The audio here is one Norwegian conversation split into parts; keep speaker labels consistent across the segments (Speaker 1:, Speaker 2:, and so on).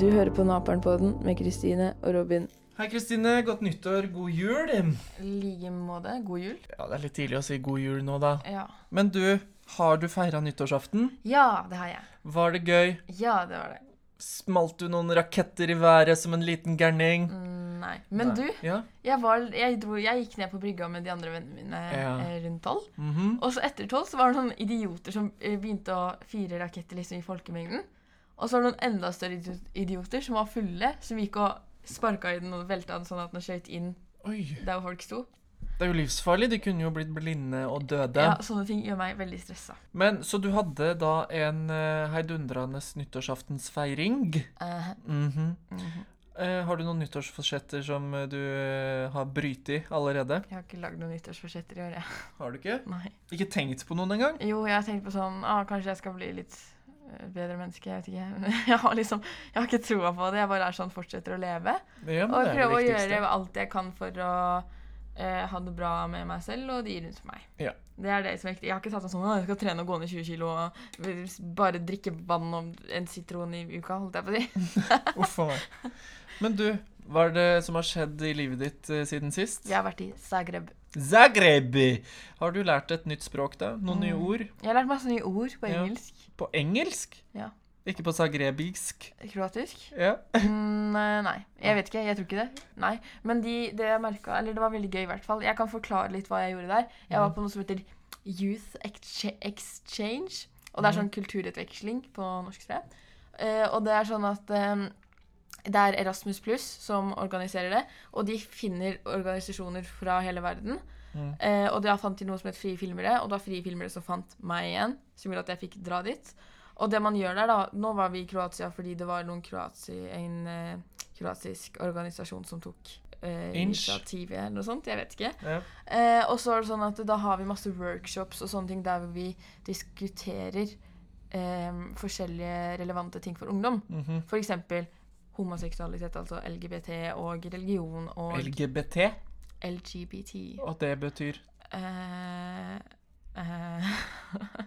Speaker 1: Du hører på Naperen-podden med Kristine og Robin.
Speaker 2: Hei, Kristine. Godt nyttår. God jul.
Speaker 1: I like måte. God jul.
Speaker 2: Ja, Det er litt tidlig å si god jul nå, da.
Speaker 1: Ja.
Speaker 2: Men du, har du feira nyttårsaften?
Speaker 1: ja, det har jeg.
Speaker 2: Var det gøy?
Speaker 1: Ja, det var det.
Speaker 2: Smalt du noen raketter i været som en liten gærning?
Speaker 1: Mm, nei. Men
Speaker 2: Nei.
Speaker 1: du,
Speaker 2: Ja.
Speaker 1: jeg, var, jeg, dro, jeg gikk ned på brygga med de andre vennene mine
Speaker 2: Ja.
Speaker 1: eh, rundt tolv.
Speaker 2: mhm.
Speaker 1: Og så etter tolv så var det noen idioter som eh, begynte å fire raketter liksom i folkemengden. Og så var det noen enda større idio- idioter som var fulle, som gikk og sparka i den og velta den sånn at den skjøt inn
Speaker 2: Oi.
Speaker 1: der hvor folk sto.
Speaker 2: Det er jo livsfarlig. De kunne jo blitt blinde og døde.
Speaker 1: Ja, sånne ting gjør meg veldig stressa.
Speaker 2: Men Så du hadde da en eh, heidundrende nyttårsaftensfeiring?
Speaker 1: Eh,
Speaker 2: Mhm.
Speaker 1: mhm.
Speaker 2: Eh, har du noen nyttårsforsetter som eh, du eh, har brytet allerede?
Speaker 1: Jeg har ikke lagd noen nyttårsforsetter i år, jeg.
Speaker 2: Har du ikke?
Speaker 1: Nei.
Speaker 2: Ikke tenkt på noen engang?
Speaker 1: Jo, jeg har tenkt på sånn ah, Kanskje jeg skal bli litt eh, bedre menneske. Jeg vet ikke. Men jeg har liksom Jeg har ikke troa på det. Jeg bare er sånn fortsetter å leve.
Speaker 2: Ja, men
Speaker 1: Og
Speaker 2: det er det
Speaker 1: prøve å
Speaker 2: viktigste.
Speaker 1: gjøre alt jeg kan for å eh, ha det bra med meg selv og de rundt meg.
Speaker 2: Ja.
Speaker 1: Det er det som er viktig. Jeg har ikke tatt meg sånn «Å, jeg skal trene og gå ned 20 kilo og bare drikke vann om en sitron i uka, holdt jeg på å si.
Speaker 2: Uff a meg. Men du, hva er det som har skjedd i livet ditt eh, siden sist?
Speaker 1: Jeg har vært i Zagreb.
Speaker 2: Zagreb! Har du lært et nytt språk, da? Noen nye ord?
Speaker 1: Jeg har lært masse nye ord på
Speaker 2: Ja.
Speaker 1: engelsk.
Speaker 2: På engelsk?
Speaker 1: Ja.
Speaker 2: Ikke på zagrebisk?
Speaker 1: Kroatisk.
Speaker 2: Ja.
Speaker 1: Mm, eh, nei, jeg vet ikke. Jeg tror ikke det. Nei, Men de, det jeg merket, eller det var veldig gøy, i hvert fall. Jeg kan forklare litt hva jeg gjorde der. Jeg var på noe som heter Youth Exche- Exchange. Og det er sånn kulturutveksling på norsk, tror jeg. Eh, og det er sånn at eh, det er Erasmus Pluss som organiserer det. Og de finner organisasjoner fra hele verden.
Speaker 2: Mhm.
Speaker 1: Eh, og da fant de noe som het Frie filmere, og det var Frie filmere som fant meg igjen. Som gjorde at jeg fikk dra dit. Og det man gjør der, da Nå var vi i Kroatia fordi det var noen kroati, en eh, kroatisk organisasjon som tok eh,
Speaker 2: Inch.
Speaker 1: initiativet, eller noe sånt. Jeg vet ikke.
Speaker 2: ja.
Speaker 1: Eh, og så er det sånn at da har vi masse workshops og sånne ting der hvor vi diskuterer eh, forskjellige relevante ting for ungdom.
Speaker 2: Mhm.
Speaker 1: For eksempel homoseksualitet, altså LGBT, og religion og
Speaker 2: LGBT?
Speaker 1: LGBT.
Speaker 2: Og det betyr
Speaker 1: Eh, eh,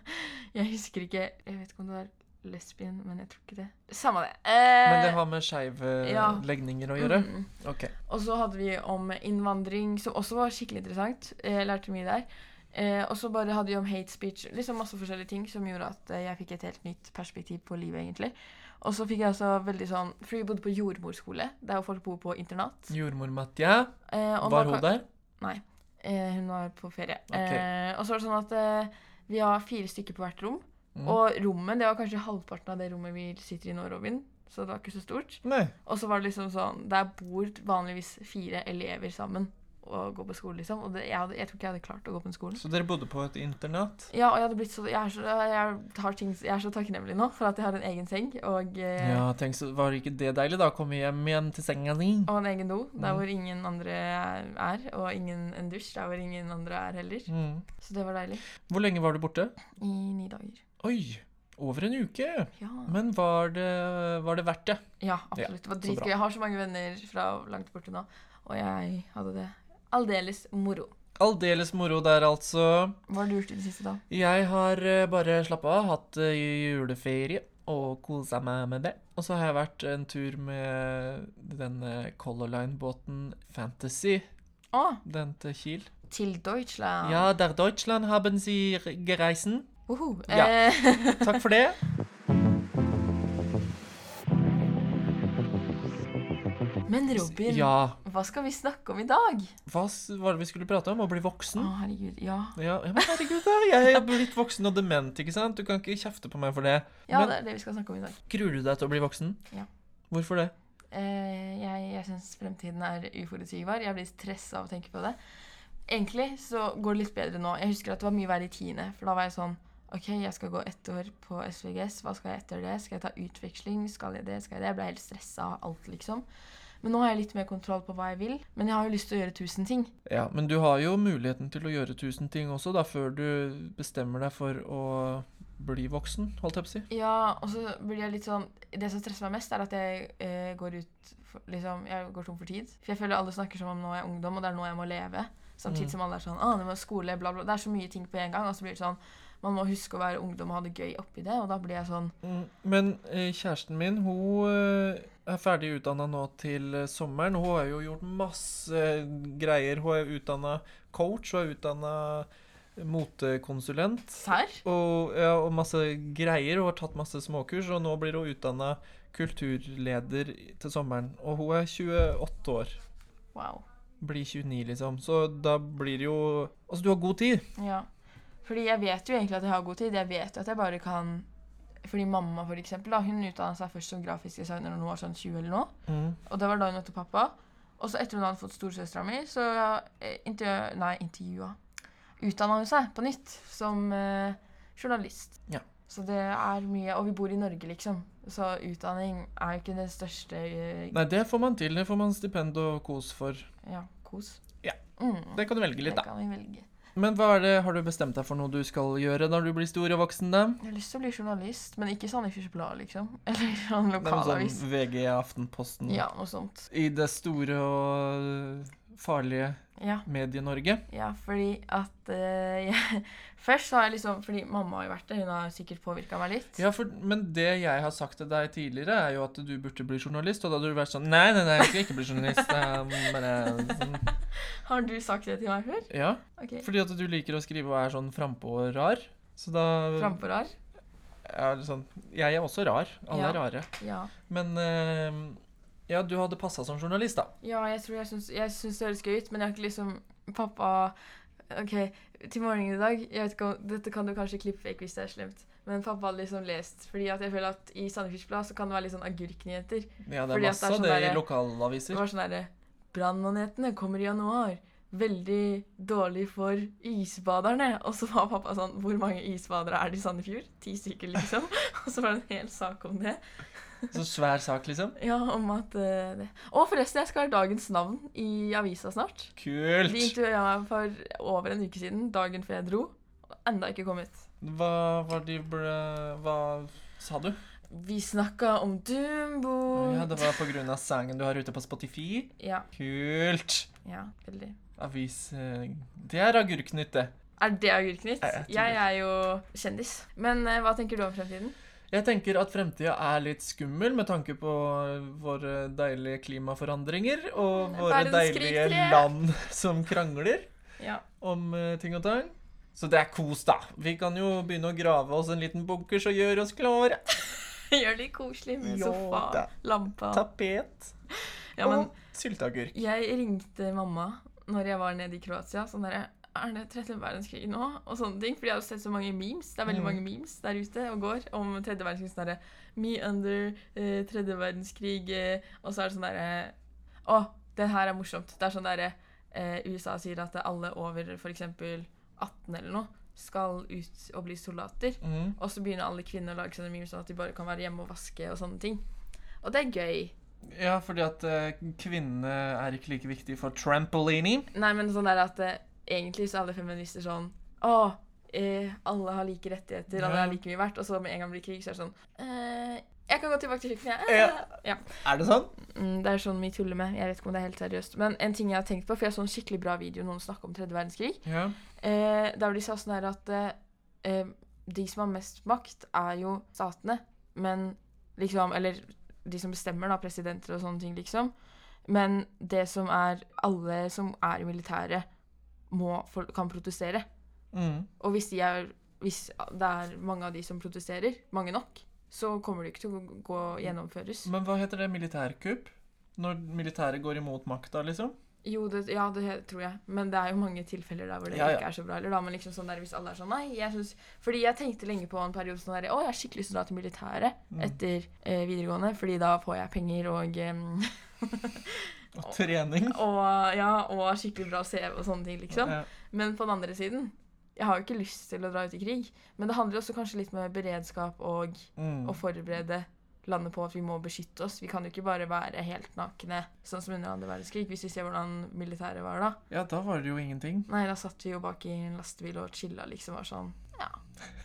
Speaker 1: jeg husker ikke Jeg vet ikke om det var lesbien, men jeg tror ikke det. Samme det. Eh,
Speaker 2: Men det har med skeive
Speaker 1: ja.
Speaker 2: legninger å gjøre?
Speaker 1: mm.
Speaker 2: OK.
Speaker 1: Og så hadde vi om innvandring, som også var skikkelig interessant. Jeg lærte mye der. Eh, og så bare hadde vi om hate speech. Liksom masse forskjellige ting som gjorde at eh, jeg fikk et helt nytt perspektiv på livet, egentlig. Og så fikk jeg altså veldig sånn For vi bodde på jordmorskole, der hvor folk bor på internat.
Speaker 2: Jordmor Matja,
Speaker 1: Eh, og
Speaker 2: Mm. var
Speaker 1: da
Speaker 2: hun
Speaker 1: kan-
Speaker 2: der?
Speaker 1: Nei. Eh, hun var på ferie.
Speaker 2: Ok.
Speaker 1: Eh, og så var det sånn at eh, vi har fire stykker på hvert rom.
Speaker 2: Mm.
Speaker 1: Og rommet, det var kanskje halvparten av det rommet vi sitter i nå, Robin. Så det var ikke så stort.
Speaker 2: Nei.
Speaker 1: Og så var det liksom sånn Der bor vanligvis fire elever sammen og går på skole, liksom. Og det, jeg, hadde, jeg tror ikke jeg hadde klart å gå på den skolen.
Speaker 2: Så dere bodde på et internat?
Speaker 1: Ja, og jeg hadde blitt så Jeg er så, jeg har ting, jeg er så takknemlig nå for at jeg har en egen seng og, eh,
Speaker 2: Ja, tenk så Var ikke det deilig, da? Å komme hjem igjen til senga di?
Speaker 1: og en egen do der
Speaker 2: Mm.
Speaker 1: hvor ingen andre er, og ingen, en dusj der hvor ingen andre er heller.
Speaker 2: Mm.
Speaker 1: Så det var deilig.
Speaker 2: Hvor lenge var du borte?
Speaker 1: I ni dager.
Speaker 2: Oi, over en uke.
Speaker 1: Ja,
Speaker 2: Men var det, var det verdt det?
Speaker 1: ja absolutt. Det var
Speaker 2: så bra.
Speaker 1: dritgøy. Jeg har så mange venner fra langt borte nå, og jeg hadde det aldeles moro.
Speaker 2: Aldeles moro der, altså.
Speaker 1: Hva har du gjort i det siste, da?
Speaker 2: Jeg har eh, bare slappa av, hatt eh, juleferie og kosa meg med det. Og så har jeg vært en tur med denne Color Line-båten Fantasy,
Speaker 1: Å,
Speaker 2: den til Kiel.
Speaker 1: til Deutschland.
Speaker 2: Ja, der Deutschland haben sie gereisen.
Speaker 1: Woho.
Speaker 2: Ja.
Speaker 1: Eh,
Speaker 2: Takk for det.
Speaker 1: men Robin,
Speaker 2: Ja.
Speaker 1: hva skal vi snakke om i dag?
Speaker 2: Hva s- var det vi skulle prate om? Å bli
Speaker 1: Å,
Speaker 2: voksen?
Speaker 1: herregud, ja.
Speaker 2: Ja, ja, men herregud, da. Jeg er blitt voksen og dement, ikke sant? Du kan ikke kjefte på meg for det.
Speaker 1: Ja,
Speaker 2: Men-
Speaker 1: det er det vi skal snakke om i dag.
Speaker 2: Gruer du deg til å bli voksen?
Speaker 1: Ja.
Speaker 2: Hvorfor det?
Speaker 1: Eh, jeg jeg syns fremtiden er uforutsigbar. Jeg blir stressa av å tenke på det. Egentlig så går det litt bedre nå. Jeg husker at det var mye verre i tiende, for da var jeg sånn OK, jeg skal gå ett år på SVGS. Hva skal jeg etter det? Skal jeg ta utveksling? Skal jeg det? Skal jeg det? Jeg ble helt stressa av alt, liksom. Men nå har jeg litt mer kontroll på hva jeg vil. Men jeg har jo lyst til å gjøre tusen ting.
Speaker 2: Ja, men du har jo muligheten til å gjøre tusen ting også, da, før du bestemmer deg for å bli voksen, holdt jeg på å si.
Speaker 1: Ja, og så blir jeg litt sånn Det som stresser meg mest, er at jeg eh, går ut for, liksom, Jeg går tom for tid. For jeg føler alle snakker som om nå er jeg ungdom, og det er nå jeg må leve. Samtidig som alle er sånn ah, det må skole, bla, bla. Det er så mye ting på en gang. Og så blir det sånn Man må huske å være ungdom og ha det gøy oppi det. Og da blir jeg sånn
Speaker 2: Mm, Men eh, kjæresten min, hun eh, er ferdig utdanna nå til eh, sommeren. Hun har jo gjort masse eh, greier. Hun er utdanna coach, hun er utdanna motekonsulent
Speaker 1: Serr?
Speaker 2: og, ja, og masse greier. Hun har tatt masse småkurs, og nå blir hun utdanna kulturleder i- til sommeren. Og hun er 28 år.
Speaker 1: Wow.
Speaker 2: Blir 29, liksom. Så da blir det jo Altså, du har god tid.
Speaker 1: Ja. Fordi jeg vet jo egentlig at jeg har god tid. Jeg vet jo at jeg bare kan Fordi mamma, for eksempel, da, hun utdanna seg først som grafisk designer når hun var sånn 20 eller noe. Og det var da hun møtte pappa. Og så etter hun hadde fått storesøstera mi, så eh, intervju- Nei, intervjua. Utdanna hun seg på nytt som eh, journalist.
Speaker 2: Ja.
Speaker 1: Så det er mye Og vi bor i Norge, liksom. Så utdanning er jo ikke det største eh,
Speaker 2: Nei, det får man til. Det får man stipend og kos for.
Speaker 1: Ja, kos.
Speaker 2: Ja.
Speaker 1: Mm,
Speaker 2: Det kan du velge litt,
Speaker 1: det
Speaker 2: da.
Speaker 1: kan vi velge.
Speaker 2: Men hva er det, har du bestemt deg for noe du skal gjøre når du blir stor og voksen, da?
Speaker 1: Jeg har lyst til å bli journalist, men ikke Sandefjords Blad, liksom. Eller sånn
Speaker 2: Det er vel
Speaker 1: lokalavis.
Speaker 2: sånn VG, Aftenposten
Speaker 1: Ja, noe sånt.
Speaker 2: I det store og farlige
Speaker 1: Ja.
Speaker 2: Medie-Norge.
Speaker 1: Ja, fordi at eh, jeg, Først så har jeg liksom Fordi mamma har jo vært det, hun har sikkert påvirka meg litt.
Speaker 2: Ja, for, men det jeg har sagt til deg tidligere, er jo at du burde bli journalist. Og da hadde du vært sånn Nei, nei, nei, jeg skal ikke bli journalist. jeg bare sånn.
Speaker 1: Har du sagt det til meg før?
Speaker 2: Ja,
Speaker 1: Ok.
Speaker 2: fordi at du liker å skrive og er sånn frampå og rar. Så da
Speaker 1: Frampå rar?
Speaker 2: er det sånn Jeg er også rar. Alle er
Speaker 1: Ja.
Speaker 2: rare.
Speaker 1: Ja.
Speaker 2: Men eh, ja, du hadde passa som journalist, da.
Speaker 1: ja, jeg tror jeg syns, jeg syns det høres gøy ut, men jeg har ikke liksom Pappa OK, til morgenen i dag jeg vet ikke om, Dette kan du kanskje klippe vekk hvis det er slemt, men pappa hadde liksom lest. Fordi at jeg føler at i Sandefjords Blad så kan det være litt sånn agurknyheter.
Speaker 2: Ja,
Speaker 1: Fordi at
Speaker 2: det er
Speaker 1: det er
Speaker 2: masse
Speaker 1: sånn
Speaker 2: av det i
Speaker 1: derre- Det
Speaker 2: lokalaviser.
Speaker 1: var sånn derre Brannmanetene kommer i januar. Veldig dårlig for isbaderne. Og så var pappa sånn Hvor mange isbadere er det i Sandefjord? Ti stykker, liksom. Og så var det en hel sak om det.
Speaker 2: Så svær sak, liksom.
Speaker 1: Ja, om at eh, det Og forresten, jeg skal være dagens navn i avisa snart. De
Speaker 2: Kult!
Speaker 1: intervjua meg for over en uke siden, dagen før jeg dro. Og enda ikke kommet.
Speaker 2: Hva var de ble Hva sa du?
Speaker 1: Vi snakka om Dumbo.
Speaker 2: Ja, det var på grunn av sangen du har ute på Spotify.
Speaker 1: ja,
Speaker 2: Kult!
Speaker 1: ja, veldig.
Speaker 2: Avis eh, Det er agurknytt, det.
Speaker 1: Er det agurknytt?
Speaker 2: Nei, jeg tror
Speaker 1: Jeg er jo kjendis. Men eh, hva tenker du om fremtiden?
Speaker 2: Jeg tenker at fremtida er litt skummel med tanke på våre deilige klimaforandringer og
Speaker 1: Mm,
Speaker 2: våre
Speaker 1: verdenskrig
Speaker 2: deilige
Speaker 1: tre.
Speaker 2: land som krangler
Speaker 1: Ja.
Speaker 2: om eh, ting og tang. Så det er kos, da. Vi kan jo begynne å grave oss en liten bunkers og gjøre oss klare.
Speaker 1: Gjør det koselig med
Speaker 2: Jo
Speaker 1: sofa,
Speaker 2: da.
Speaker 1: lampa
Speaker 2: Tapet
Speaker 1: ja, men,
Speaker 2: og sylteagurk.
Speaker 1: Jeg ringte mamma når jeg var nede i Kroatia. Sånn der, Er det tredje verdenskrig nå? Og sånne ting. Fordi jeg har sett så mange memes. Det er veldig
Speaker 2: Mm.
Speaker 1: mange memes der ute og går om tredje verdenskrig. Sånn derre Me under eh, tredje verdenskrig. Eh, og så er det sånn derre Å, det her er morsomt. Det er sånn derre eh, USA sier at alle over f.eks. 18 eller noe skal ut og bli soldater.
Speaker 2: Mm.
Speaker 1: Og så begynner alle kvinner å lage sånne memes sånn at de bare kan være hjemme og vaske og sånne ting. Og det er gøy.
Speaker 2: Ja, fordi at eh, kvinnene er ikke like viktige for trampolini.
Speaker 1: Nei, men sånn der at eh, egentlig så er alle feminister sånn Å, eh, alle har like rettigheter, alle
Speaker 2: Ja.
Speaker 1: er like mye verdt. Og så med en gang det blir krig, så er det sånn eh, Jeg kan gå tilbake til kjøkkenet, jeg.
Speaker 2: Ja.
Speaker 1: Ja.
Speaker 2: Er det sånn?
Speaker 1: Mm, det er sånn vi tuller med. Jeg vet ikke om det er helt seriøst. Men en ting jeg har tenkt på, for jeg så en skikkelig bra video noen snakke om tredje verdenskrig,
Speaker 2: Ja.
Speaker 1: eh, der de sa sånn her at eh, eh, de som har mest makt, er jo statene. Men liksom Eller de som bestemmer, da, presidenter og sånne ting, liksom. Men det som er Alle som er i militæret, må, for, kan protestere.
Speaker 2: Mm.
Speaker 1: Og hvis, de er, hvis det er mange av de som protesterer, mange nok, så kommer det ikke til å gå- gå gjennomføres.
Speaker 2: Men hva heter det? Militærkupp? Når militæret går imot makta, liksom?
Speaker 1: Jo, det, ja, det he- tror jeg. Men det er jo mange tilfeller der hvor det
Speaker 2: Ja, ja.
Speaker 1: ikke er så bra. Eller da, men liksom sånn der hvis alle er sånn Nei, jeg syns Fordi jeg tenkte lenge på en periode sånn der Å, jeg har skikkelig lyst til å dra til militæret
Speaker 2: Mm.
Speaker 1: etter eh, videregående, fordi da får jeg penger og em,
Speaker 2: Og trening?
Speaker 1: Og ja, og skikkelig bra CV og sånne ting, liksom.
Speaker 2: Ja.
Speaker 1: Men på den andre siden Jeg har jo ikke lyst til å dra ut i krig. Men det handler også kanskje litt med beredskap og
Speaker 2: Mm.
Speaker 1: å forberede landet på at vi må beskytte oss. Vi kan jo ikke bare være helt nakne, sånn som under andre verdenskrig, hvis vi ser hvordan militæret var da.
Speaker 2: ja, da var det jo ingenting.
Speaker 1: Nei, da satt vi jo bak i en lastebil og chilla, liksom. Var sånn Ja.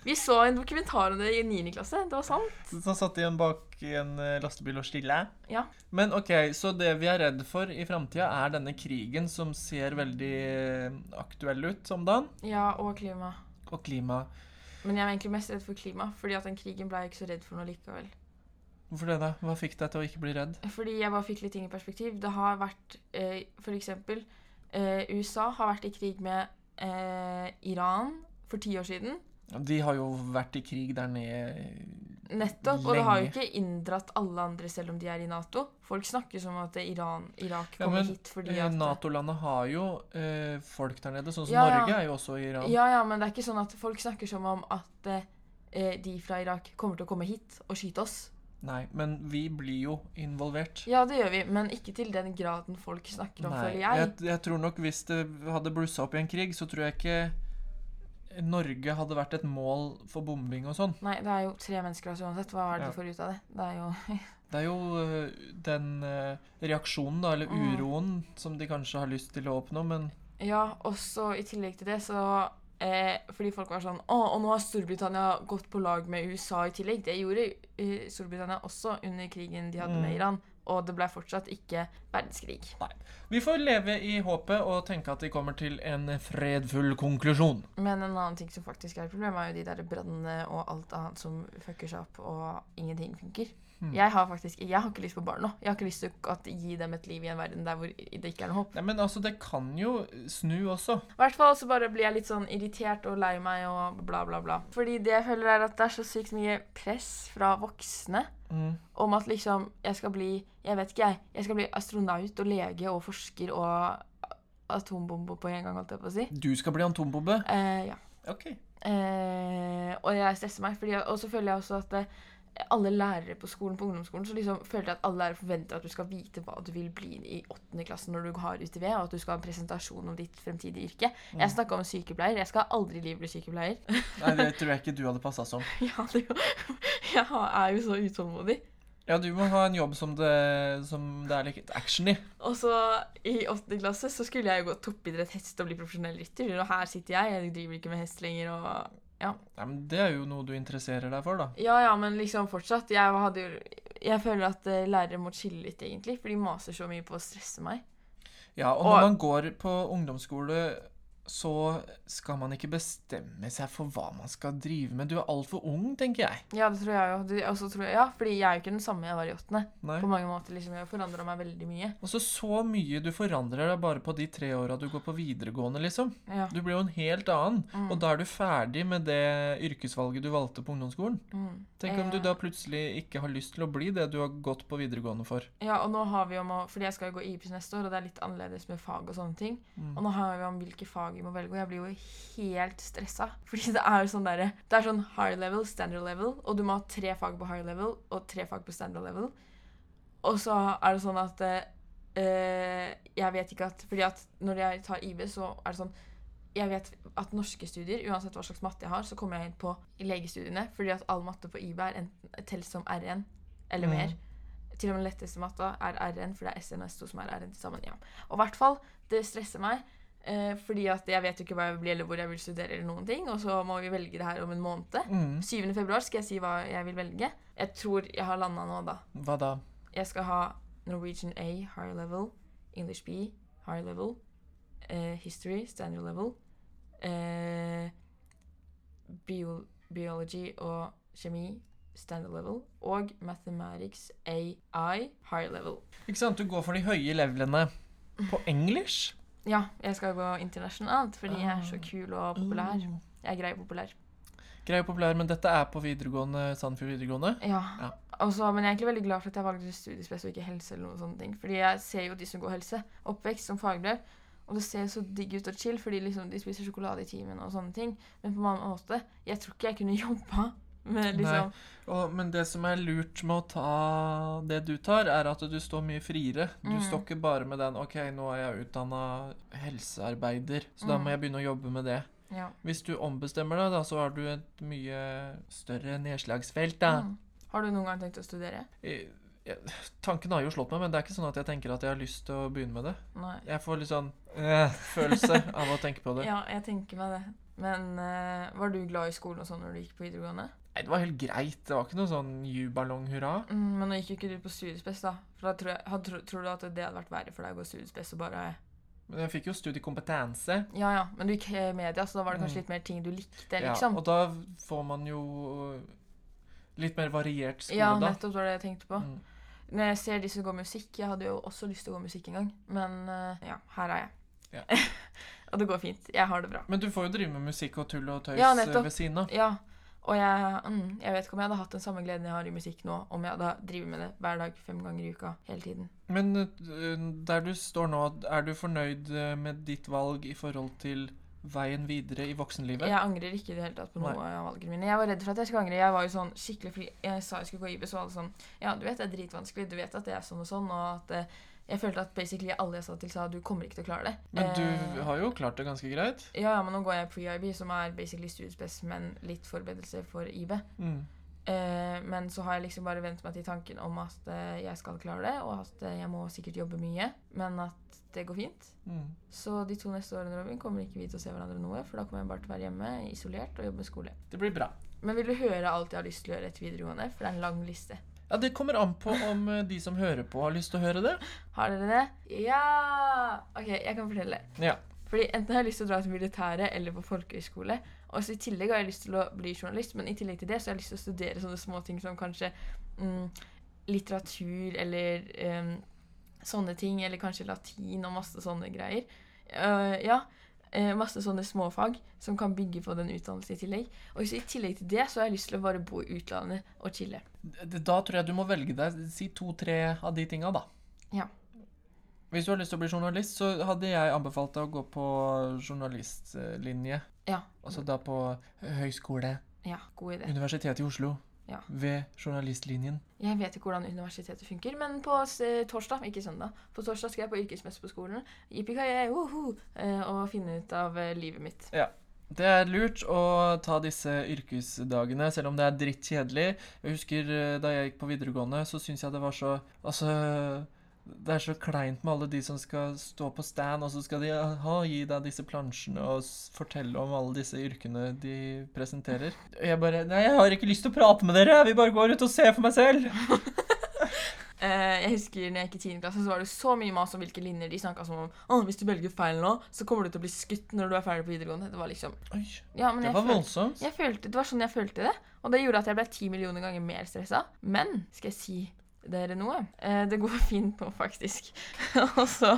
Speaker 1: Vi så en dokumentar om det i 9. klasse. Det var sant.
Speaker 2: Så så satt de igjen bak i en eh, lastebil og stille.
Speaker 1: Ja.
Speaker 2: Men OK, så det vi er redd for i framtida, er denne krigen som ser veldig eh, aktuell ut om dagen,
Speaker 1: Ja, og klima.
Speaker 2: og klima.
Speaker 1: Men jeg var egentlig mest redd for klima, fordi at den krigen ble jeg ikke så redd for noe likevel.
Speaker 2: Hvorfor det, da? Hva fikk deg til å ikke bli redd?
Speaker 1: Fordi jeg bare fikk litt ting i perspektiv. Det har vært eh, f.eks. Eh, USA har vært i krig med eh, Iran for ti år siden.
Speaker 2: De har jo vært i krig der nede
Speaker 1: Nettopp. Og det har jo
Speaker 2: Lenge.
Speaker 1: ikke inndratt alle andre, selv om de er i Nato. Folk snakker som at Iran, Irak
Speaker 2: Ja,
Speaker 1: kommer
Speaker 2: men,
Speaker 1: hit fordi
Speaker 2: Eh,
Speaker 1: at
Speaker 2: Nato-landet har jo eh, folk der nede. Sånn som
Speaker 1: Ja, ja.
Speaker 2: Norge er jo også i Iran.
Speaker 1: Ja, ja, men det er ikke sånn at folk snakker som om at eh, eh, de fra Irak kommer til å komme hit og skyte oss.
Speaker 2: Nei, men vi blir jo involvert.
Speaker 1: Ja, det gjør vi, men ikke til den graden folk snakker om,
Speaker 2: Nei,
Speaker 1: føler
Speaker 2: jeg,
Speaker 1: jeg.
Speaker 2: jeg tror nok hvis det hadde blussa opp i en krig, så tror jeg ikke Norge hadde vært et mål for bombing og sånn.
Speaker 1: Nei, det er jo tre mennesker altså, uansett. Hva er det
Speaker 2: Ja.
Speaker 1: de får ut av det? Det er jo
Speaker 2: Det er jo øh, den øh, reaksjonen, da, eller
Speaker 1: Mm.
Speaker 2: uroen, som de kanskje har lyst til å oppnå, men
Speaker 1: Ja, og så i tillegg til det så eh, Fordi folk var sånn Å, og nå har Storbritannia gått på lag med USA i tillegg. Det gjorde eh, Storbritannia også under krigen de hadde
Speaker 2: Mm.
Speaker 1: med Iran. Og det ble fortsatt ikke verdenskrig.
Speaker 2: Vi får leve i håpet og tenke at de kommer til en fredfull konklusjon.
Speaker 1: Men en annen ting som faktisk er et problem, er jo de der brannene og alt annet som fucker seg opp, og ingenting funker.
Speaker 2: Hmm.
Speaker 1: Jeg har faktisk Jeg har ikke lyst på barn nå. Jeg har ikke lyst til å at- gi dem et liv i en verden der hvor det ikke er noe håp.
Speaker 2: Nei, men altså, det kan jo snu også.
Speaker 1: I hvert fall så bare blir jeg litt sånn irritert og lei meg og bla, bla, bla. Fordi det jeg føler, er at det er så sykt mye press fra voksne
Speaker 2: Mm.
Speaker 1: om at liksom jeg skal bli Jeg vet ikke, jeg. Jeg skal bli astronaut og lege og forsker og a- atombombe på en gang, holdt jeg på å si.
Speaker 2: Du skal bli atombombe?
Speaker 1: Eh, ja.
Speaker 2: Ok.
Speaker 1: Eh, og jeg stresser meg. Fordi, og så føler jeg også at eh, alle lærere på skolen på ungdomsskolen så liksom følte jeg at alle lærere forventer at du skal vite hva du vil bli i åttende klasse når du har UTV, og at du skal ha en presentasjon om ditt fremtidige yrke. Jeg snakka om sykepleier. Jeg skal aldri i livet bli sykepleier.
Speaker 2: Nei, det tror jeg ikke du hadde passa som.
Speaker 1: ja, det, er jo- jeg har- er jo så utålmodig.
Speaker 2: Ja, du må ha en jobb som det, som det er litt action i.
Speaker 1: Og så i åttende klasse så skulle jeg jo gå toppidrett, hest og bli profesjonell rytter. Og her sitter jeg, jeg driver ikke med hest lenger og
Speaker 2: Nei, men det er jo noe du interesserer deg for, da.
Speaker 1: Ja, ja, men liksom fortsatt. Jeg, hadde jo, jeg føler at eh, lærere må chille litt, egentlig. For de maser så mye på å stresse meg.
Speaker 2: Ja, og
Speaker 1: Og-
Speaker 2: når man går på ungdomsskole, så skal man ikke bestemme seg for hva man skal drive med. Du er altfor ung, tenker jeg.
Speaker 1: Ja, det tror jeg jo. Du- Og så tror jeg, ja, fordi jeg er jo ikke den samme jeg var i åttende.
Speaker 2: Nei.
Speaker 1: På mange måter, liksom. Jeg forandra meg veldig mye.
Speaker 2: Også så mye du forandrer deg bare på de tre åra du går på videregående, liksom.
Speaker 1: Ja.
Speaker 2: Du blir jo en helt annen,
Speaker 1: Mm.
Speaker 2: og da er du ferdig med det yrkesvalget du valgte på ungdomsskolen.
Speaker 1: Mm.
Speaker 2: Tenk om du
Speaker 1: Eh,
Speaker 2: da plutselig ikke har lyst til å bli det du har gått på videregående for.
Speaker 1: Ja, og nå har vi om å Fordi jeg skal jo gå IPS neste år, og det er litt annerledes med fag og sånne ting. Og nå har vi om hvilke fag vi må velge, og jeg blir jo helt stressa. Fordi det er jo sånn derre Det er sånn high level, standard level, og du må ha tre fag på high level og tre fag på standard level. Og så er det sånn at eh, eh, Jeg vet ikke at Fordi at når jeg tar IB, så er det sånn jeg vet at norske studier, uansett hva slags matte jeg har, så kommer jeg inn på legestudiene. Fordi at all matte på IB er enten telles som RN eller
Speaker 2: Mm.
Speaker 1: mer. Til og med den letteste matta er RN, for det er SN og S2 som er RN til sammen. Ja. Og i hvert fall, det stresser meg, eh, fordi at jeg vet jo ikke hva jeg vil bli, eller hvor jeg vil studere, eller noen ting. Og så må vi velge det her om en måned.
Speaker 2: Mm.
Speaker 1: 7. februar skal jeg si hva jeg vil velge. Jeg tror jeg har landa nå, da.
Speaker 2: Hva da?
Speaker 1: Jeg skal ha Norwegian A, high level. English B, high level. eh, history, standard level. eh, bio biology og kjemi, standard level. Og mathematics AI, high level.
Speaker 2: Ikke sant, du går for de høye levelene på English?
Speaker 1: Ja, jeg skal gå internasjonalt fordi jeg er så kul og populær.
Speaker 2: Mm.
Speaker 1: Jeg er grei og populær.
Speaker 2: Grei og populær, men dette er på videregående, Sandefjord videregående.
Speaker 1: Ja.
Speaker 2: Ja.
Speaker 1: Og så- men jeg er egentlig veldig glad for at jeg valgte studiespes og ikke helse. eller noen sånne ting. Fordi jeg ser jo de som går helse, oppvekst som fagbrev, og det ser så digg ut og chill fordi liksom de spiser sjokolade i timen og sånne ting. Men på en annen måte, jeg tror ikke jeg kunne jobba med liksom
Speaker 2: Og, men det som er lurt med å ta det du tar, er at du står mye friere. Du
Speaker 1: Mm.
Speaker 2: står ikke bare med den 'OK, nå er jeg utdanna helsearbeider, så da
Speaker 1: Mm.
Speaker 2: må jeg begynne å jobbe med det'.
Speaker 1: ja.
Speaker 2: Hvis du ombestemmer deg, da, så har du et mye større nedslagsfelt, da.
Speaker 1: Mm. Har du noen gang tenkt å studere?
Speaker 2: I- jeg- Tanken har jo slått meg, men det er ikke sånn at jeg tenker at jeg har lyst til å begynne med det.
Speaker 1: Nei.
Speaker 2: Jeg får litt sånn eh, følelse av å tenke på det.
Speaker 1: Ja, jeg tenker meg det. Men eh, var du glad i skolen og sånn når du gikk på videregående?
Speaker 2: Nei, det var helt greit. Det var ikke noe sånn juballong-hurra.
Speaker 1: Mm, men nå gikk jo ikke du på studiespes, da. For da tror, jeg, had, tro, tror du at det hadde vært verre for deg å gå studiespes og bare
Speaker 2: Men jeg fikk jo studiekompetanse.
Speaker 1: Ja ja, men du gikk eh, media, så da var det
Speaker 2: Mm.
Speaker 1: kanskje litt mer ting du likte,
Speaker 2: Ja,
Speaker 1: liksom.
Speaker 2: og da får man jo øh, Litt mer variert skole,
Speaker 1: Ja,
Speaker 2: da.
Speaker 1: nettopp var det jeg tenkte på.
Speaker 2: Mm.
Speaker 1: Når jeg ser de som går musikk Jeg hadde jo også lyst til å gå musikk en gang, men eh, ja, her er jeg.
Speaker 2: Ja.
Speaker 1: og det går fint. Jeg har det bra.
Speaker 2: Men du får jo drive med musikk og tull og tøys
Speaker 1: Ja,
Speaker 2: eh,
Speaker 1: nettopp.
Speaker 2: ved siden av.
Speaker 1: Ja, og jeg, mm, jeg vet ikke om jeg hadde hatt den samme gleden jeg har i musikk nå, om jeg hadde drevet med det hver dag fem ganger i uka hele tiden.
Speaker 2: Men eh, der du står nå, er du fornøyd eh, med ditt valg i forhold til veien videre i voksenlivet?
Speaker 1: Jeg angrer ikke i det hele tatt på noe
Speaker 2: Nei.
Speaker 1: av valgene mine. Jeg var redd for at jeg skulle angre. Jeg var jo sånn skikkelig fordi jeg sa jeg skulle gå IB, så var alle sånn Ja, du vet det er dritvanskelig, du vet at det er sånn og sånn, og at eh, jeg følte at basically alle jeg sa til, sa du kommer ikke til å klare det.
Speaker 2: Men
Speaker 1: Eh,
Speaker 2: du har jo klart det ganske greit.
Speaker 1: Ja, ja, men nå går jeg pre-IB, som er basically studiespes, men litt forberedelse for IB.
Speaker 2: Mm.
Speaker 1: Eh, men så har jeg liksom bare vent meg til tanken om at eh, jeg skal klare det, og at eh, jeg må sikkert jobbe mye, men at det går fint.
Speaker 2: Mm.
Speaker 1: Så de to neste årene Robin, kommer ikke vi til å se hverandre noe, for da kommer jeg bare til å være hjemme isolert og jobbe med skole.
Speaker 2: Det blir bra.
Speaker 1: Men vil du høre alt jeg har lyst til å gjøre etter videregående? For det er en lang liste.
Speaker 2: Ja, Det kommer an på om eh, de som hører på, har lyst til å høre det.
Speaker 1: Har dere det? Ja! OK, jeg kan fortelle.
Speaker 2: Ja.
Speaker 1: Fordi Enten har jeg lyst til å dra til militæret eller på folkehøyskole. Og så I tillegg har jeg lyst til å bli journalist, men i tillegg til det så har jeg lyst til å studere sånne småting som kanskje mm, litteratur eller em, sånne ting, eller kanskje latin og masse sånne greier. Eh, ja, eh, Masse sånne småfag som kan bygge på den utdannelsen i tillegg. Og så I tillegg til det så har jeg lyst til å bare bo i utlandet og chille.
Speaker 2: D- Da tror jeg du må velge deg si to-tre av de tinga, da.
Speaker 1: Ja.
Speaker 2: Hvis du har lyst til å bli journalist, så hadde jeg anbefalt deg å gå på journalistlinje.
Speaker 1: Ja,
Speaker 2: Altså da på høyskole,
Speaker 1: ja god idé.
Speaker 2: Universitetet i Oslo.
Speaker 1: Ja.
Speaker 2: Ved journalistlinjen.
Speaker 1: Jeg vet ikke hvordan universitetet funker, men på s- eh, torsdag, ikke søndag, på torsdag skal jeg på yrkesmesse på skolen Yippee-ki-yay, woho! eh, og finne ut av eh, livet mitt.
Speaker 2: Det er lurt å ta disse yrkesdagene, selv om det er drittkjedelig. Jeg husker eh, da jeg gikk på videregående, så syntes jeg det var så Altså det er så kleint med alle de som skal stå på stand, og så skal de aha, gi deg disse plansjene og s- fortelle om alle disse yrkene de presenterer. Og jeg bare Nei, jeg har ikke lyst til å prate med dere! Jeg vil bare gå ut og se for meg selv!
Speaker 1: Eh, jeg husker når jeg gikk i 10. klasse, så var det så mye mas om hvilke linjer de snakka som om «Å, hvis du velger feil nå, så kommer du til å bli skutt når du er ferdig på videregående. Det var liksom
Speaker 2: Oi,
Speaker 1: ja, men
Speaker 2: det
Speaker 1: jeg
Speaker 2: var
Speaker 1: følte,
Speaker 2: voldsomt.
Speaker 1: jeg følte, Det var sånn jeg følte det, og det gjorde at jeg ble ti millioner ganger mer stressa. Men skal jeg si dere noe? Eh, det går fint nå, faktisk. og så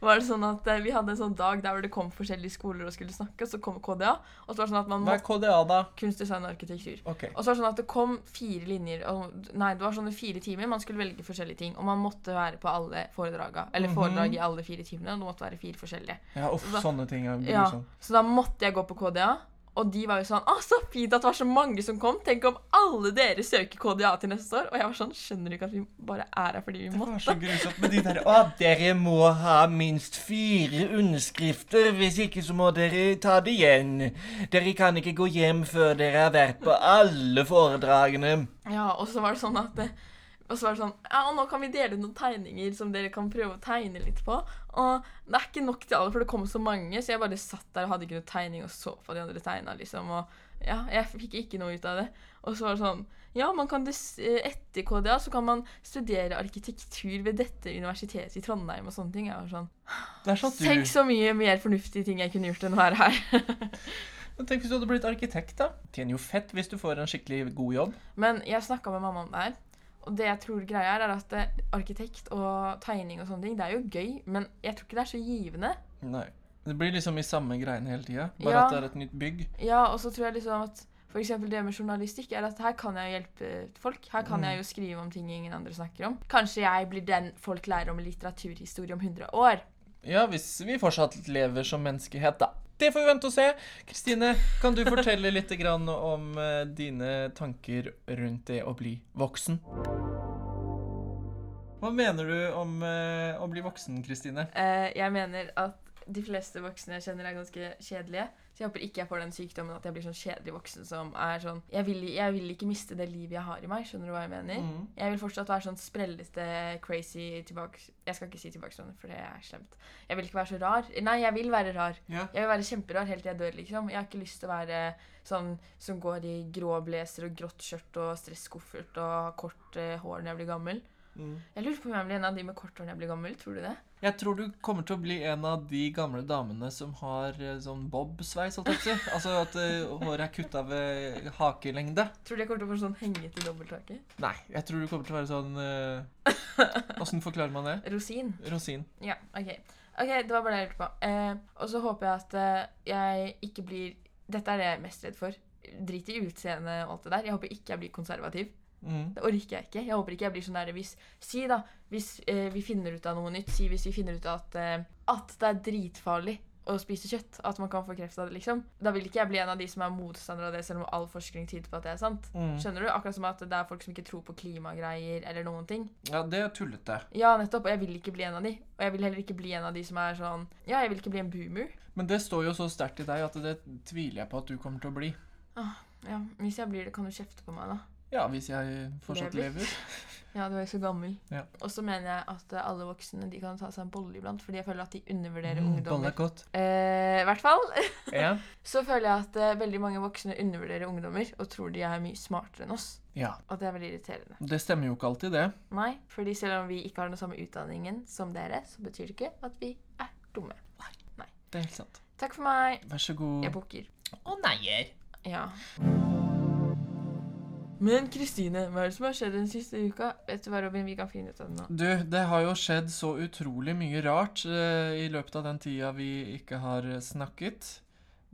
Speaker 1: var det sånn at eh, vi hadde en sånn dag der hvor det kom forskjellige skoler og skulle snakke, og så kom KDA, og så var det sånn at man
Speaker 2: Hva
Speaker 1: må
Speaker 2: er KDA, da?
Speaker 1: kunst, design og arkitektur.
Speaker 2: OK.
Speaker 1: Og så var det sånn at det kom fire linjer og, Nei, det var sånne fire timer. Man skulle velge forskjellige ting. Og man måtte være på alle foredraga. Eller
Speaker 2: Mhm.
Speaker 1: foredrag i alle fire timene. Og det måtte være fire forskjellige.
Speaker 2: Ja, uff,
Speaker 1: Hva-
Speaker 2: sånne ting er
Speaker 1: Ja,
Speaker 2: grusomt.
Speaker 1: Så da måtte jeg gå på KDA. Og de var jo sånn Å, så fint at det var så mange som kom. Tenk om alle dere søker KDA til neste år. Og jeg var sånn Skjønner du ikke at vi bare er her fordi vi
Speaker 2: Det
Speaker 1: må?
Speaker 2: var så grusomt med de der Å, dere må ha minst fire underskrifter, hvis ikke så må dere ta det igjen. Dere kan ikke gå hjem før dere har vært på alle foredragene.
Speaker 1: Ja, og så var det sånn at det, Og så var det sånn Ja, og nå kan vi dele ut noen tegninger som dere kan prøve å tegne litt på. Og det er ikke nok til alle, for det kom så mange, så jeg bare satt der og hadde ikke noe tegning og så på de andre tegna, liksom. Og ja, jeg fikk ikke noe ut av det. Og så var det sånn Ja, man kan dess- eh, etter KDA så kan man studere arkitektur ved dette universitetet i Trondheim og sånne ting. Jeg var sånn
Speaker 2: Der satt
Speaker 1: Tenk
Speaker 2: du.
Speaker 1: så mye mer fornuftige ting jeg kunne gjort enn å være her.
Speaker 2: Men Tenk hvis du hadde blitt arkitekt, da. Tjener jo fett hvis du får en skikkelig god jobb.
Speaker 1: Men jeg snakka med mamma om det her. Og det jeg tror greia er, er at eh, arkitekt og tegning og sånne ting, det er jo gøy, men jeg tror ikke det er så givende.
Speaker 2: Nei. Det blir liksom i samme greiene hele tida, bare
Speaker 1: Ja.
Speaker 2: at det er et nytt bygg.
Speaker 1: Ja, og så tror jeg liksom at for eksempel det med journalistikk er at her kan jeg jo hjelpe folk. Her kan
Speaker 2: Mm.
Speaker 1: jeg jo skrive om ting ingen andre snakker om. Kanskje jeg blir den folk lærer om i litteraturhistorie om 100 år.
Speaker 2: Ja, hvis vi fortsatt lever som menneskehet, da. Det får vi vente og se. Kristine, kan du fortelle litt grann om eh, dine tanker rundt det å bli voksen? Hva mener du om eh, å bli voksen, Kristine?
Speaker 1: Eh, jeg mener at de fleste voksne jeg kjenner er ganske kjedelige. Så jeg håper ikke jeg får den sykdommen at jeg blir sånn kjedelig voksen som er sånn Jeg vil, jeg vil ikke miste det livet jeg har i meg. Skjønner du hva jeg mener?
Speaker 2: Mm.
Speaker 1: Jeg vil fortsatt være sånn sprellete, crazy tilbake... Jeg skal ikke si tilbakestående, for det er slemt. Jeg vil ikke være så rar. Nei, jeg vil være rar.
Speaker 2: Ja.
Speaker 1: Jeg vil være kjemperar helt til jeg dør, liksom. Jeg har ikke lyst til å være sånn som går i grå blazer og grått skjørt og stresskoffert og har kort eh, hår når jeg blir gammel.
Speaker 3: Mm.
Speaker 1: Jeg lurer på om jeg blir en av de med kort hår når jeg blir gammel. Tror du det?
Speaker 3: Jeg tror du kommer til å bli en av de gamle damene som har eh, sånn bobsveis, holdt jeg på å si. Altså at eh, håret er kutta ved hakelengde.
Speaker 1: Tror du jeg kommer til å få sånn hengete dobbelthake?
Speaker 3: Nei, jeg tror du kommer til å være sånn Åssen forklarer man det?
Speaker 1: Rosin.
Speaker 3: Rosin.
Speaker 1: Ja, OK. Ok, Det var bare det jeg lurte på. Eh, og så håper jeg at eh, jeg ikke blir Dette er det jeg er mest redd for. Drit i utseendet og alt det der. Jeg håper ikke jeg blir konservativ.
Speaker 3: Mm.
Speaker 1: Det orker jeg ikke. Jeg håper ikke jeg blir sånn der hvis Si, da, hvis eh, vi finner ut av noe nytt. Si hvis vi finner ut at, eh, at det er dritfarlig å spise kjøtt. At man kan få kreft av det, liksom. Da vil ikke jeg bli en av de som er motstandere av det, selv om all forskning tyder på at det er sant.
Speaker 3: Mm.
Speaker 1: Skjønner du? Akkurat som at det er folk som ikke tror på klimagreier eller noen ting.
Speaker 3: Ja, det er tullete.
Speaker 1: Ja, nettopp. Og jeg vil ikke bli en av de. Og jeg vil heller ikke bli en av de som er sånn Ja, jeg vil ikke bli en boomer.
Speaker 3: Men det står jo så sterkt i deg at det tviler jeg på at du kommer til å bli.
Speaker 1: Ja, Hvis jeg blir det, kan du kjefte på meg, da.
Speaker 3: Ja, hvis jeg fortsatt
Speaker 1: Lever.
Speaker 3: lever.
Speaker 1: Ja, du er jo så gammel.
Speaker 3: Ja.
Speaker 1: Og så mener jeg at eh, alle voksne de kan ta seg en bolle iblant, fordi jeg føler at de undervurderer
Speaker 3: Mm, bolle
Speaker 1: ungdommer.
Speaker 3: er godt.
Speaker 1: Eh, I hvert fall
Speaker 3: Ja.
Speaker 1: så føler jeg at eh, veldig mange voksne undervurderer ungdommer og tror de er mye smartere enn oss.
Speaker 3: ja.
Speaker 1: Og det er veldig irriterende.
Speaker 3: Det stemmer jo ikke alltid, det.
Speaker 1: Nei, fordi selv om vi ikke har den samme utdanningen som dere, så betyr det ikke at vi er dumme.
Speaker 3: Det er helt sant.
Speaker 1: Takk for meg.
Speaker 3: Vær så god.
Speaker 1: Jeg bukker.
Speaker 3: Å neier.
Speaker 1: Ja. Men Kristine, hva er det som har skjedd den siste uka? Vet du hva, Robin, vi kan finne ut av det nå.
Speaker 3: Du, det har jo skjedd så utrolig mye rart eh, i løpet av den tida vi ikke har eh, snakket.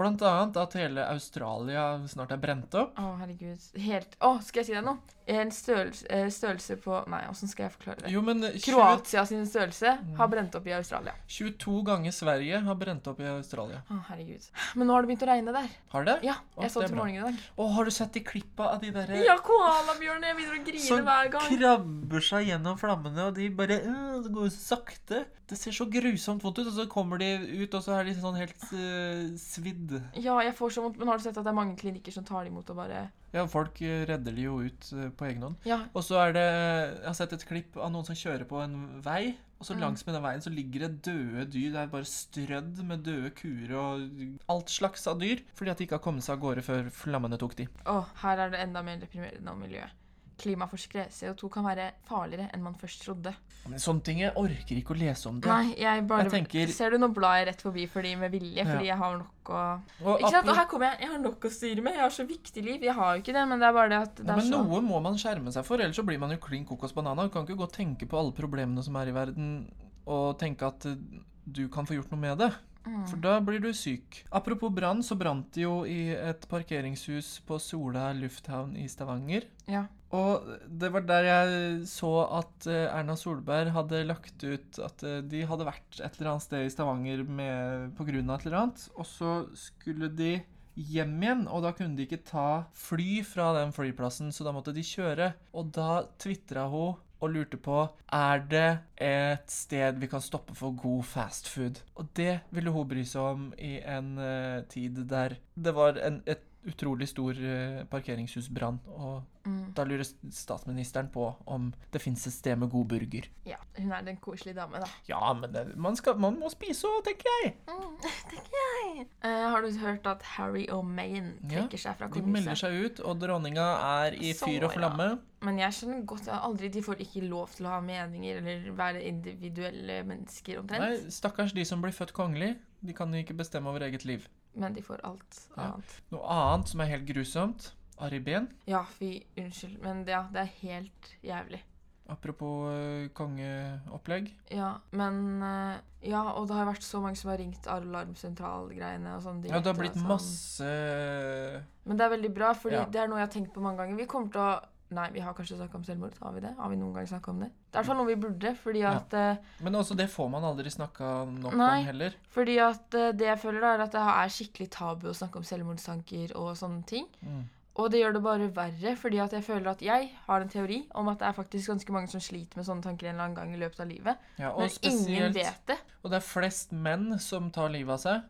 Speaker 3: Blant annet at hele Australia snart er brent opp.
Speaker 1: Å, herregud. Helt Å, skal jeg si deg noe? En størrelse, eh, størrelse på Nei, åssen skal jeg forklare det?
Speaker 3: Jo, men 20,
Speaker 1: Kroatia sin størrelse har brent opp i Australia.
Speaker 3: 22 ganger Sverige har brent opp i Australia.
Speaker 1: Å, herregud. Men nå har det begynt å regne der.
Speaker 3: Har det?
Speaker 1: Ja,
Speaker 3: Å,
Speaker 1: jeg så
Speaker 3: det er
Speaker 1: til
Speaker 3: bra.
Speaker 1: morgenen i dag.
Speaker 3: Å, har du sett de klippa av de derre
Speaker 1: Ja, koalabjørnene! Jeg begynner å grine
Speaker 3: som
Speaker 1: hver gang.
Speaker 3: krabber seg gjennom flammene, og de bare øh, Det går jo sakte. Det ser så grusomt vondt ut, og så kommer de ut, og så er de sånn helt eh, svidd.
Speaker 1: Ja, jeg får så vondt. Men har du sett at det er mange klinikker som tar det imot og bare
Speaker 3: Ja, folk eh, redder de jo ut eh, på egen hånd.
Speaker 1: Ja,
Speaker 3: Og så er det Jeg har sett et klipp av noen som kjører på en vei. Og så
Speaker 1: Mm.
Speaker 3: langs med den veien så ligger det døde dyr. Det er bare strødd med døde kuer og alt slags av dyr. Fordi at de ikke har kommet seg av gårde før flammene tok de.
Speaker 1: å, her er det enda mer deprimerende om miljøet. Klimaforskere, CO2 kan være farligere enn man først trodde.
Speaker 3: Men sånne ting Jeg orker ikke å lese om det.
Speaker 1: Nei, jeg bare
Speaker 3: Jeg tenker-
Speaker 1: Ser du, nå blar jeg rett forbi for de med vilje, fordi jeg har nok å
Speaker 3: Og
Speaker 1: Ikke sant?
Speaker 3: apro-
Speaker 1: Og her kommer jeg. Jeg har nok å styre med. Jeg har så viktig liv. Jeg har jo ikke det, men det er bare det at det
Speaker 3: ja,
Speaker 1: er
Speaker 3: men
Speaker 1: så
Speaker 3: noe må man skjerme seg for, ellers så blir man jo klin kokos banana. Du kan ikke gå og tenke på alle problemene som er i verden, og tenke at eh, du kan få gjort noe med det.
Speaker 1: Mm.
Speaker 3: For da blir du syk. Apropos brann, så brant det jo i et parkeringshus på Sola lufthavn i Stavanger.
Speaker 1: Ja.
Speaker 3: Og det var der jeg så at eh, Erna Solberg hadde lagt ut at eh, de hadde vært et eller annet sted i Stavanger med, på grunn av et eller annet, og så skulle de hjem igjen, og da kunne de ikke ta fly fra den flyplassen, så da måtte de kjøre. Og da tvitra hun og lurte på er det et sted vi kan stoppe for god fast food. Og det ville hun bry seg om i en eh, tid der det var en, et utrolig stor eh, parkeringshusbrann. og
Speaker 1: Mm.
Speaker 3: da lurer statsministeren på om det fins et sted med god burger.
Speaker 1: ja. Hun er den koselige dame, da.
Speaker 3: Ja, men det, man, skal, man må spise òg, tenker jeg.
Speaker 1: Mm, tenker jeg. Eh, har du hørt at Harry O'Mayen
Speaker 3: Ja,
Speaker 1: trekker seg fra
Speaker 3: De
Speaker 1: kongehuset?
Speaker 3: melder seg ut, og dronninga er i
Speaker 1: Så,
Speaker 3: fyr og flamme.
Speaker 1: Men jeg skjønner godt at aldri de får ikke lov til å ha meninger eller være individuelle mennesker omtrent.
Speaker 3: Nei, Stakkars de som blir født kongelig. De kan jo ikke bestemme over eget liv.
Speaker 1: Men de får alt
Speaker 3: Ja.
Speaker 1: annet.
Speaker 3: Noe annet som er helt grusomt. Ari Behn.
Speaker 1: Ja, fy, unnskyld. Men det, ja, det er helt jævlig.
Speaker 3: Apropos øh, kongeopplegg.
Speaker 1: Ja, men eh, Ja, og det har vært så mange som har ringt alarmsentral-greiene og sånn.
Speaker 3: Ja, det har
Speaker 1: direkte,
Speaker 3: blitt
Speaker 1: sånn.
Speaker 3: masse øh,
Speaker 1: Men det er veldig bra, fordi
Speaker 3: Ja.
Speaker 1: det er noe jeg har tenkt på mange ganger. Vi kommer til å Nei, vi har kanskje snakka om selvmord. Har vi det? Har vi noen gang snakka om det? Det er i hvert fall noe vi burde, fordi
Speaker 3: Ja.
Speaker 1: at eh,
Speaker 3: Men også det får man aldri snakka nok
Speaker 1: Nei.
Speaker 3: om heller.
Speaker 1: Fordi at eh, det jeg føler da, er at det er skikkelig tabu å snakke om selvmordstanker og sånne ting.
Speaker 3: Mm.
Speaker 1: Og det gjør det bare verre, fordi at jeg føler at jeg har en teori om at det er faktisk ganske mange som sliter med sånne tanker en eller annen gang i løpet av livet.
Speaker 3: Ja, og
Speaker 1: Men ingen
Speaker 3: spesielt-
Speaker 1: vet det.
Speaker 3: Og det er flest menn som tar livet av seg.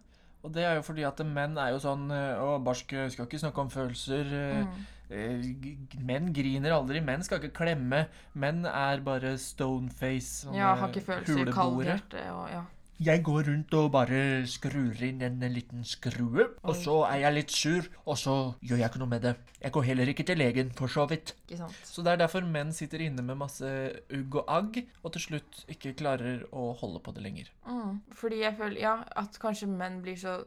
Speaker 3: Og det er jo fordi at menn er jo sånn eh, Å, barske, skal ikke snakke om følelser. eh,
Speaker 1: Mm.
Speaker 3: eh, g- g- Menn griner aldri. Menn skal ikke klemme. Menn er bare stoneface.
Speaker 1: Ja, har ikke følelser, kaldt hjerte eh, og ja.
Speaker 2: Jeg går rundt og bare skrur inn en liten skrue, og så er jeg litt sur, og så gjør jeg ikke noe med det. Jeg går heller ikke til legen, for så vidt.
Speaker 1: Ikke sant?
Speaker 2: Så det er derfor menn sitter inne med masse ugg og agg, og til slutt ikke klarer å holde på det lenger.
Speaker 1: Mm. Fordi jeg føler ja, at kanskje menn blir så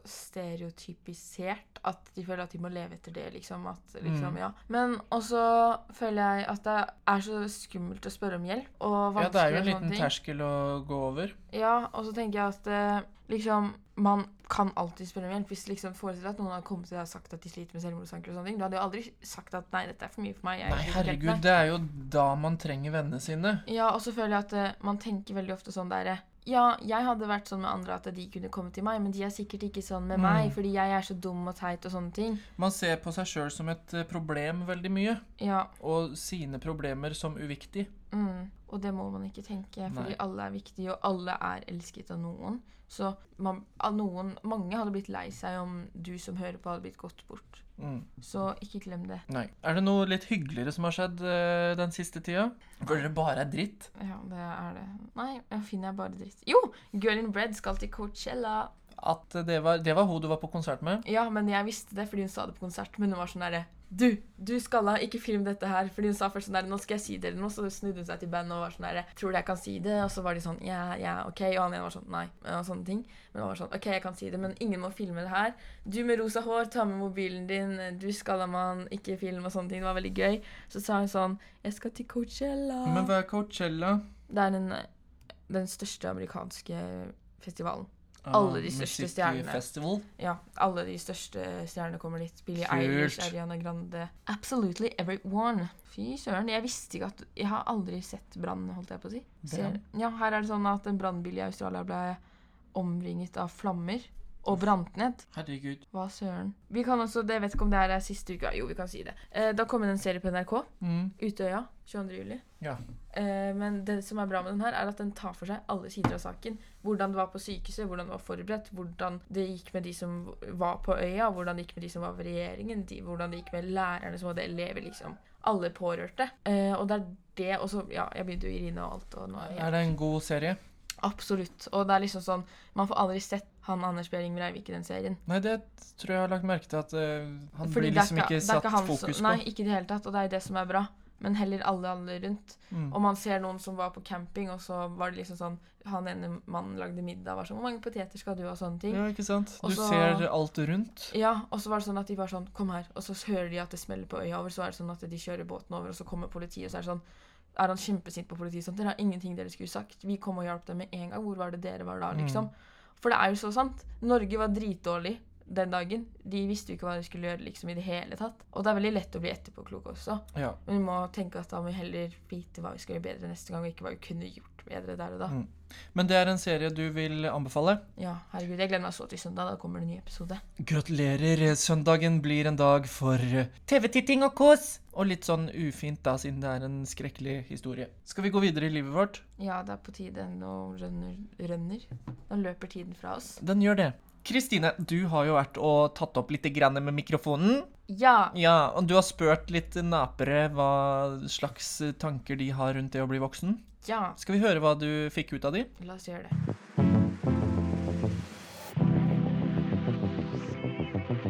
Speaker 1: stereotypisert at de føler at de må leve etter det. liksom, at,
Speaker 2: Mm.
Speaker 1: liksom ja. Men også føler jeg at det er så skummelt å spørre om hjelp. Og
Speaker 2: Ja, det er jo
Speaker 1: vanskelig og
Speaker 2: en
Speaker 1: sånne
Speaker 2: liten
Speaker 1: ting.
Speaker 2: terskel å gå over.
Speaker 1: Ja, og så tenker jeg at eh, liksom, man kan alltid spørre om hjelp. Hvis liksom forestiller deg at noen har kommet til deg og sagt at de sliter med selvmordstanker, og sånne ting, du hadde jo aldri sagt at 'nei, dette er for mye for meg'. jeg
Speaker 2: Nei,
Speaker 1: vil ikke hjelpe deg».
Speaker 2: herregud, det er jo da man trenger vennene sine.
Speaker 1: Ja, og så føler jeg at eh, man tenker veldig ofte sånn der eh, Ja, jeg hadde vært sånn med andre at de kunne komme til meg, men de er sikkert ikke sånn med
Speaker 2: Mm.
Speaker 1: meg, fordi jeg er så dum og teit og sånne ting.
Speaker 2: Man ser på seg sjøl som et eh, problem veldig mye,
Speaker 1: Ja,
Speaker 2: og sine problemer som uviktig.
Speaker 1: mm. Og det må man ikke tenke, fordi
Speaker 2: Nei.
Speaker 1: alle er viktige, og alle er elsket av noen. Så man, av noen, mange hadde blitt lei seg om du som hører på, hadde blitt gått bort.
Speaker 2: Mm.
Speaker 1: Så ikke glem det.
Speaker 2: Nei. Er det noe litt hyggeligere som har skjedd eh, den siste tida? Hvor det bare er dritt?
Speaker 1: Ja, det er det. Nei, jeg finner jeg bare dritt. Jo! Girl in Bread skal til Coachella.
Speaker 2: At det var, det var hun du var på konsert med?
Speaker 1: Ja, men jeg visste det fordi hun sa det på konsert. Men hun var sånn derre Du, du skalla, ikke film dette her. Fordi hun sa først sånn derre Nå skal jeg si det eller noe. Så snudde hun seg til bandet og var sånn derre Tror du jeg kan si det? Og så var de sånn Ja, ja, ok. Og han ene var sånn Nei. Og sånne ting. Men han var sånn OK, jeg kan si det, men ingen må filme det her. Du med rosa hår, ta med mobilen din. Du skalla mann, ikke film og sånne ting. Det var veldig gøy. Så sa hun sånn Jeg skal til Coachella.
Speaker 2: Men hva er Coachella?
Speaker 1: Det er den, eh, den største amerikanske festivalen.
Speaker 2: Ah,
Speaker 1: Alle de største
Speaker 2: Music
Speaker 1: stjernene.
Speaker 2: Festival.
Speaker 1: Ja, alle de største stjernene kommer dit. Billie
Speaker 2: Kult.
Speaker 1: Eilish, Ariana Grande Absolutely everyone. Fy søren. Jeg visste ikke at Jeg har aldri sett brann, holdt jeg på å si. Ser, ja, her er det sånn at en brannbil i Australia ble omringet av flammer og brant ned.
Speaker 2: Herregud.
Speaker 1: Hva søren. Vi kan også, det vet ikke om det her er siste uka. Jo, vi kan si det. Eh, da kom det en serie på NRK.
Speaker 2: Mm.
Speaker 1: Utøya. 22. juli.
Speaker 2: Ja.
Speaker 1: Eh, men det som er bra med den her, er at den tar for seg alle sider av saken. Hvordan det var på sykehuset, hvordan det var forberedt, hvordan det gikk med de som var på øya, hvordan det gikk med de som var ved regjeringen, de, hvordan det gikk med lærerne som hadde elever, liksom. Alle pårørte. Eh, og det er det, og så Ja, jeg begynte jo i Irina og alt, og nå er jeg
Speaker 2: Er det en god serie?
Speaker 1: Absolutt. Og det er liksom sånn Man får aldri sett han Anders Behring Breivik i den serien.
Speaker 2: Nei, det tror jeg har lagt merke til at eh, han
Speaker 1: Fordi
Speaker 2: blir
Speaker 1: det er
Speaker 2: liksom ikke
Speaker 1: det er
Speaker 2: satt
Speaker 1: han som-
Speaker 2: fokus på.
Speaker 1: Nei, ikke i det hele tatt, og det er det som er bra. Men heller alle andre rundt.
Speaker 2: Mm.
Speaker 1: Og man ser noen som var på camping, og så var det liksom sånn Han ene mannen lagde middag og var sånn Hvor mange poteter skal du ha? Og sånne ting. Ja.
Speaker 2: Ja, ikke sant? Du
Speaker 1: Og så-
Speaker 2: ser alt rundt.
Speaker 1: og så var det sånn at de var sånn Kom her. Og så hører de at det smeller på øya over, så er det sånn at de kjører båten over, og så kommer politiet, og så er det sånn er han kjempesint på politiet? Sånn, dere har ingenting dere skulle sagt. Vi kom og hjalp dem med en gang. Hvor var det dere var
Speaker 2: Mm.
Speaker 1: da? liksom? For det er jo så sant. Norge var dritdårlig den dagen. De visste jo ikke hva de skulle gjøre liksom i det hele tatt. Og det er veldig lett å bli etterpåklok også.
Speaker 2: Ja.
Speaker 1: Men vi må tenke at da må vi heller vite hva vi skal gjøre bedre neste gang, og ikke hva vi kunne gjort bedre der og da.
Speaker 2: Mm. Men det er en serie du vil anbefale?
Speaker 1: Ja, herregud, jeg gleder meg så til søndag. Da kommer det en ny episode.
Speaker 2: Gratulerer. Søndagen blir en dag for eh, TV-titting og kos. Og litt sånn ufint, da, siden det er en skrekkelig historie. Skal vi gå videre i livet vårt?
Speaker 1: Ja, det er på tide. Nå rønner, rønner. Nå løper tiden fra oss.
Speaker 2: Den gjør det. Kristine, du har jo vært og tatt opp litt grann med mikrofonen.
Speaker 1: Ja,
Speaker 2: Ja, og du har spurt litt napere hva slags tanker de har rundt det å bli voksen.
Speaker 1: ja.
Speaker 2: Skal vi høre hva du fikk ut av de?
Speaker 1: La oss gjøre det.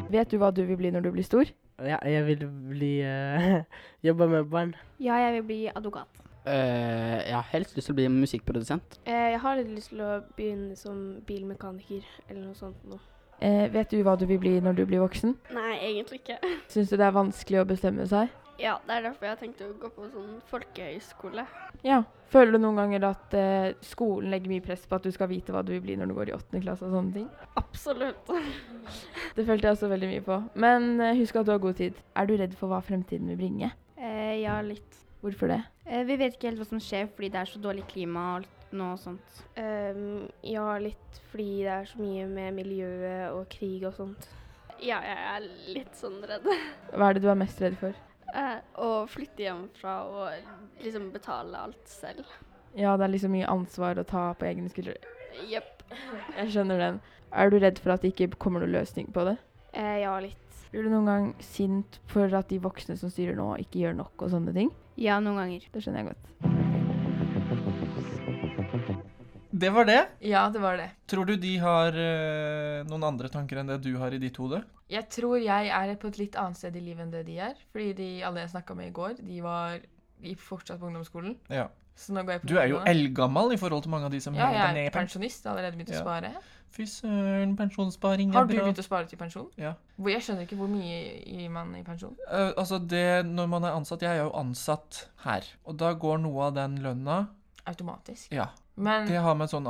Speaker 1: Vet du hva du vil bli når du blir stor?
Speaker 4: Ja, jeg vil bli eh, jobbe med barn.
Speaker 5: Ja, jeg vil bli advokat.
Speaker 4: Eh, jeg har helst lyst til å bli musikkprodusent.
Speaker 5: Eh, Jeg har litt lyst til å begynne som bilmekaniker eller noe sånt noe.
Speaker 1: Eh, vet du hva du vil bli når du blir voksen?
Speaker 5: Nei, egentlig ikke.
Speaker 1: Syns du det er vanskelig å bestemme seg?
Speaker 5: Ja, det er derfor jeg har tenkt å gå på sånn folkehøyskole.
Speaker 1: Ja. Føler du noen ganger at eh, skolen legger mye press på at du skal vite hva du vil bli når du går i åttende klasse og sånne ting?
Speaker 5: Absolutt.
Speaker 1: Det følte jeg også veldig mye på. Men eh, husk at du har god tid. Er du redd for hva fremtiden vil bringe?
Speaker 6: Eh, ja, litt.
Speaker 1: Hvorfor det?
Speaker 6: Eh, vi vet ikke helt hva som skjer fordi det er så dårlig klima og alt nå og sånt.
Speaker 5: Ehm, ja, litt fordi det er så mye med miljøet og krig og sånt. Ja, jeg er litt sånn redd. Eh,
Speaker 1: Hva er det du er mest redd for?
Speaker 5: Å flytte hjemmefra og liksom betale alt selv.
Speaker 1: Ja, det er liksom mye ansvar å ta på egne skuldre.
Speaker 5: Jepp.
Speaker 1: Jeg skjønner den. Er du redd for at det ikke kommer noen løsning på det?
Speaker 5: Eh, ja, litt.
Speaker 1: Blir du noen gang sint for at de voksne som styrer nå, ikke gjør nok og sånne ting?
Speaker 6: Ja, noen ganger.
Speaker 1: Det skjønner jeg godt.
Speaker 3: Det var det.
Speaker 1: Ja, det var det.
Speaker 3: Tror du de har eh, noen andre tanker enn det du har i ditt hode?
Speaker 1: Jeg tror jeg er på et litt annet sted i livet enn det de er. Fordi de alle jeg snakka med i går, de var de er fortsatt på ungdomsskolen.
Speaker 3: Ja.
Speaker 1: Så nå går jeg på
Speaker 3: Du er jo
Speaker 1: videregående.
Speaker 3: eldgammel i forhold til mange av de som
Speaker 1: Ja,
Speaker 3: hever
Speaker 1: jeg
Speaker 3: ned
Speaker 1: er
Speaker 3: i pensjon.
Speaker 1: pensjonist. Jeg har Allerede begynt å
Speaker 3: Ja.
Speaker 1: spare.
Speaker 3: Fy søren, pensjonssparing er
Speaker 1: Har du
Speaker 3: bra.
Speaker 1: begynt å spare til pensjon?
Speaker 3: Ja.
Speaker 1: Hvor- Jeg skjønner ikke hvor mye gir man i pensjon.
Speaker 3: Eh, altså det, når man er ansatt, jeg er jo ansatt her, og da går noe av den lønna,
Speaker 1: Automatisk.
Speaker 3: ja,
Speaker 1: Men,
Speaker 3: det har med sånn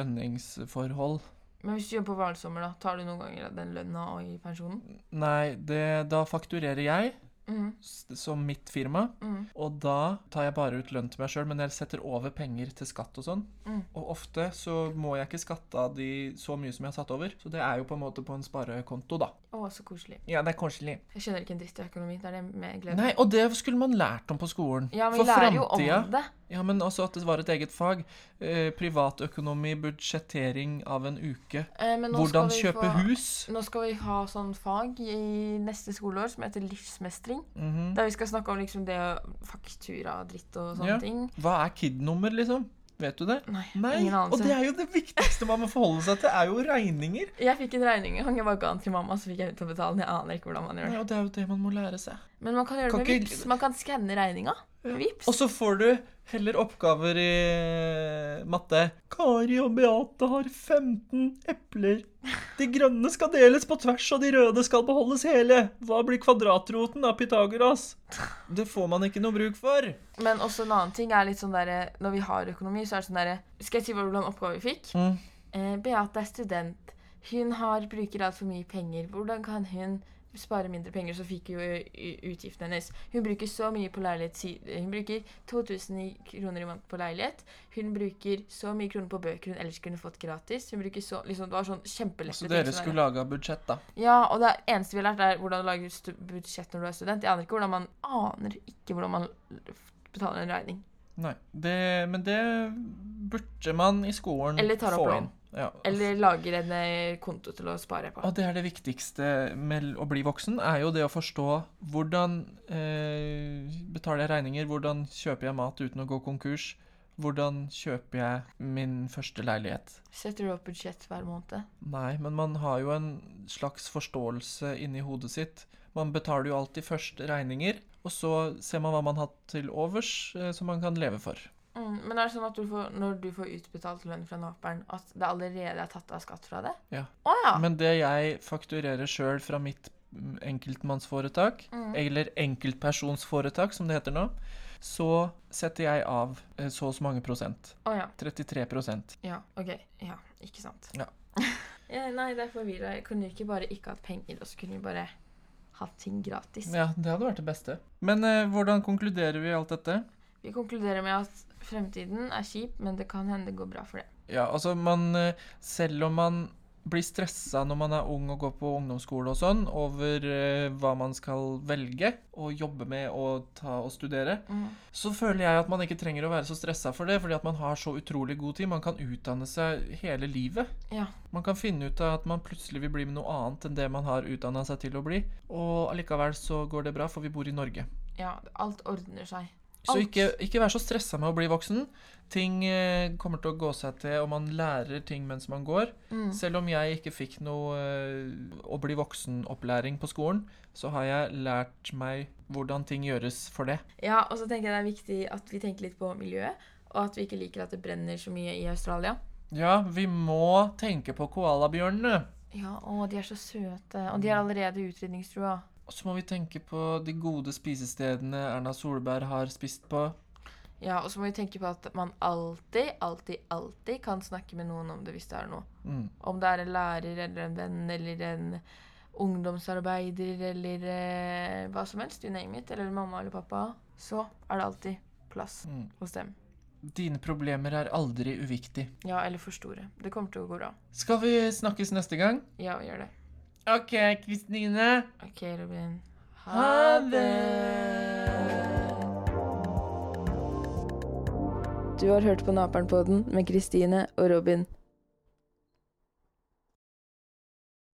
Speaker 3: ansettelseslønningsforhold.
Speaker 1: men hvis du jobber på Hvalsommer, da, tar du noen ganger den lønna og i pensjonen?
Speaker 3: Nei, det, da fakturerer jeg
Speaker 1: Mhm,
Speaker 3: s- som mitt firma,
Speaker 1: mhm.
Speaker 3: og da tar jeg bare ut lønn til meg sjøl, men jeg setter over penger til skatt og sånn.
Speaker 1: Mm.
Speaker 3: Og ofte så må jeg ikke skatte av de så mye som jeg har satt over, så det er jo på en måte på en sparekonto, da.
Speaker 1: Å, så koselig.
Speaker 3: Ja, det er koselig.
Speaker 1: Jeg skjønner ikke en dritt i økonomi. Det er det med glede.
Speaker 3: Nei, og det skulle man lært om på skolen.
Speaker 1: ja, men
Speaker 3: For
Speaker 1: vi lærer jo om
Speaker 3: fremtida-
Speaker 1: det.
Speaker 3: Ja, men også at det var et eget fag. Eh, privatøkonomi, budsjettering av en uke.
Speaker 1: Eh, men nå skal
Speaker 3: Hvordan
Speaker 1: vi
Speaker 3: kjøpe
Speaker 1: få-
Speaker 3: hus.
Speaker 1: Nå skal vi ha sånn fag i neste skoleår som heter livsmestring.
Speaker 3: Mhm.
Speaker 1: Der vi skal snakke om liksom det å- faktura og dritt og sånne
Speaker 3: Ja.
Speaker 1: ting.
Speaker 3: Hva er KID-nummer, liksom? Vet du det?
Speaker 1: Nei,
Speaker 3: Nei,
Speaker 1: ingen
Speaker 3: og det
Speaker 1: anelse.
Speaker 3: er jo det viktigste man må forholde seg til, er jo regninger.
Speaker 1: Jeg fikk en regning en gang. Jeg bare ga den til mamma, så fikk jeg ut å betale den. Jeg aner ikke hvordan man gjør
Speaker 3: Nei,
Speaker 1: det.
Speaker 3: og det er jo det man må lære seg.
Speaker 1: Men man kan gjøre det
Speaker 3: Kan
Speaker 1: med
Speaker 3: ikke-
Speaker 1: vips. Man kan skanne regninga.
Speaker 3: Ja.
Speaker 1: Vips.
Speaker 3: Og så får du heller oppgaver i matte. Kari og Beate har 15 epler. De grønne skal deles på tvers, og de røde skal beholdes hele. Hva blir kvadratroten av Pythagoras? Det får man ikke noe bruk for.
Speaker 1: Men også en annen ting er litt sånn derre Når vi har økonomi, så er det sånn derre Skal jeg si hvordan oppgave vi fikk?
Speaker 3: Mm.
Speaker 1: Eh, Beate er student. Hun har, bruker altfor mye penger. Hvordan kan hun spare mindre penger? Så fikk jo eh, u- utgiftene hennes. Hun bruker så mye på leilighet. si- Hun bruker 2000 i- kroner i måneden på leilighet. Hun bruker så mye kroner på bøker hun ellers kunne fått gratis. Hun bruker så, liksom, Det var sånn kjempelette ting
Speaker 3: Så Altså, dere
Speaker 1: som
Speaker 3: skulle laga budsjett, da.
Speaker 1: er- Ja, og det eneste vi har lært, er hvordan du lager stu- budsjett når du er student. Jeg aner ikke hvordan man aner ikke hvordan man l- betaler en regning.
Speaker 3: Nei. Det, men det burde man i skolen
Speaker 1: Eller tar opp
Speaker 3: få
Speaker 1: lån.
Speaker 3: inn. Ja.
Speaker 1: Eller lager en eh, konto til å spare på.
Speaker 3: Altså. Og det er det viktigste med å bli voksen, er jo det å forstå hvordan eh, betaler jeg regninger, hvordan kjøper jeg mat uten å gå konkurs, hvordan kjøper jeg min første leilighet.
Speaker 1: Setter du opp budsjett hver måned?
Speaker 3: Nei, men man har jo en slags forståelse inni hodet sitt. Man betaler jo alltid først regninger, og så ser man hva man har til overs eh, som man kan leve for.
Speaker 1: Mm, men er det sånn at du får, når du får utbetalt lønn fra Naperen, at det allerede er tatt av skatt fra det?
Speaker 3: Ja.
Speaker 1: Å ja.
Speaker 3: Men det jeg fakturerer sjøl fra mitt mm, enkeltmannsforetak,
Speaker 1: Mm.
Speaker 3: eller enkeltpersonsforetak som det heter nå, så setter jeg av eh, så og så mange prosent.
Speaker 1: Å ja.
Speaker 3: 33 prosent.
Speaker 1: Ja, OK. Ja, ikke sant.
Speaker 3: Ja.
Speaker 1: Ja, nei, det er forvirra. Jeg kunne ikke bare ikke hatt penger, og så kunne vi bare hatt ting gratis.
Speaker 3: Ja, det hadde vært det beste. Men eh, hvordan konkluderer vi alt dette?
Speaker 1: Vi konkluderer med at fremtiden er kjip, men det kan hende det går bra for det.
Speaker 3: Ja, altså man eh, Selv om man blir stressa når man er ung og går på ungdomsskole og sånn, over eh, hva man skal velge og jobbe med og ta og studere,
Speaker 1: Mm.
Speaker 3: så føler jeg at man ikke trenger å være så stressa for det, fordi at man har så utrolig god tid. Man kan utdanne seg hele livet.
Speaker 1: Ja.
Speaker 3: Man kan finne ut av at man plutselig vil bli med noe annet enn det man har utdanna seg til å bli, og allikevel så går det bra, for vi bor i Norge.
Speaker 1: ja. Alt ordner seg.
Speaker 3: Så
Speaker 1: Alt.
Speaker 3: ikke, ikke vær så stressa med å bli voksen. Ting eh, kommer til å gå seg til, og man lærer ting mens man går.
Speaker 1: Mm.
Speaker 3: Selv om jeg ikke fikk noe eh, å bli voksen-opplæring på skolen, så har jeg lært meg hvordan ting gjøres for det.
Speaker 1: Ja, og så tenker jeg det er viktig at vi tenker litt på miljøet, og at vi ikke liker at det brenner så mye i Australia.
Speaker 3: Ja, vi må tenke på koalabjørnene.
Speaker 1: Ja, å, de er så søte, og de er allerede utrydningstrua.
Speaker 3: Og så må vi tenke på de gode spisestedene Erna Solberg har spist på.
Speaker 1: Ja, og så må vi tenke på at man alltid, alltid, alltid kan snakke med noen om det hvis det er noe.
Speaker 3: Mm.
Speaker 1: Om det er en lærer eller en venn eller en ungdomsarbeider eller eh, hva som helst, you name it, eller mamma eller pappa, så er det alltid plass
Speaker 3: Mm.
Speaker 1: hos dem.
Speaker 3: Dine problemer er aldri uviktig.
Speaker 1: Ja, eller for store. Det kommer til å gå bra.
Speaker 3: Skal vi snakkes neste gang?
Speaker 1: Ja, vi gjør det.
Speaker 3: OK, Kristine.
Speaker 1: OK, Robin.
Speaker 3: Ha det!
Speaker 1: Du har hørt på Naperen-podden med Kristine og Robin.